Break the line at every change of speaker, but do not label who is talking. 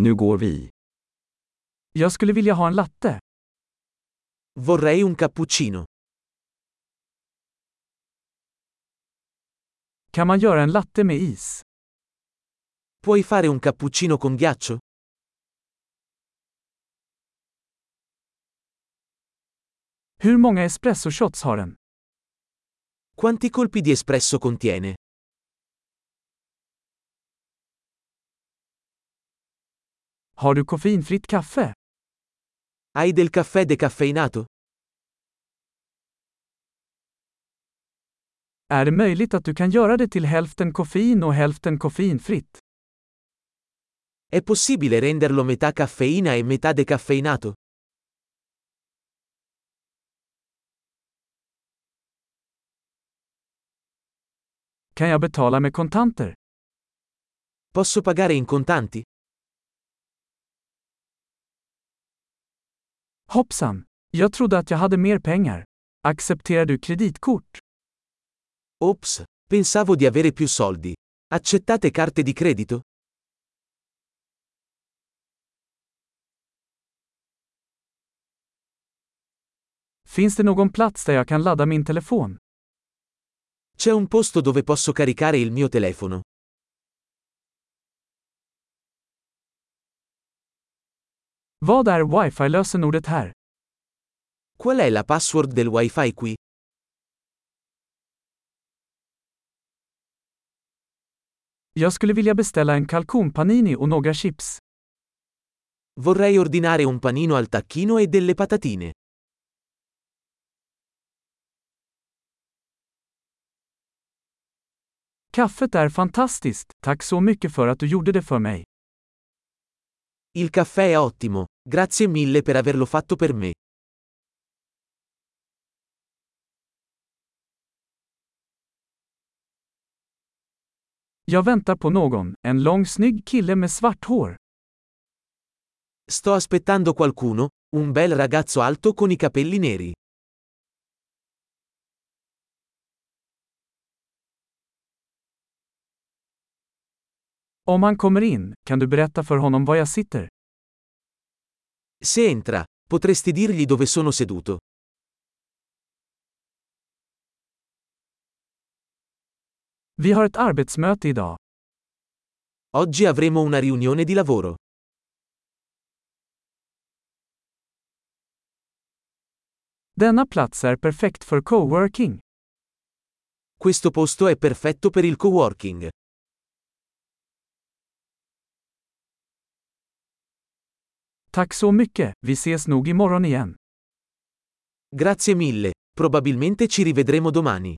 Nu går vi.
Jag skulle vilja ha en latte.
Vorrei un cappuccino.
Kan man göra en latte med is?
Puoi fare un cappuccino con ghiaccio?
Hur många espresso shots har den?
Quanti colpi di espresso contiene?
Har du koffeinfritt kaffe?
Hai del caffè decaffeinato?
Är det möjligt att du kan göra det till hälften koffein och hälften koffeinfritt?
È possibile renderlo metà caffeina e metà decaffeinato?
Kan jag betala med kontanter?
Posso pagare in contanti?
Hoppsan! Jag trodde att jag hade mer pengar. Accepterar du kreditkort?
Ops, pensavo di avere più soldi. Accettate carte di credito?
Finns det någon plats där jag kan ladda min telefon?
C'è un posto dove posso caricare il mio telefono.
Vad är wifi-lösenordet här?
Qual è la password del wifi qui?
Jag skulle vilja beställa en kalkonpanini och några chips.
Vorrei ordinare un panino al tacchino e delle patatine.
Kaffet är fantastiskt, tack så mycket för att du gjorde det för mig.
Il caffè è ottimo, grazie mille per averlo fatto per me.
Jag väntar på någon, en lång snygg kille med svart hår.
Sto aspettando qualcuno, un bel ragazzo alto con i capelli neri.
Om han kommer in, kan du berätta för honom var jag sitter?
Se entra, potresti dirgli dove sono seduto.
Vi har ett arbetsmöte idag.
Oggi avremo una riunione di lavoro.
Denna plats är perfekt för coworking.
Questo posto è perfetto per il coworking.
Tack så mycket, vi ses nog imorgon igen.
Grazie mille, probabilmente ci rivedremo domani.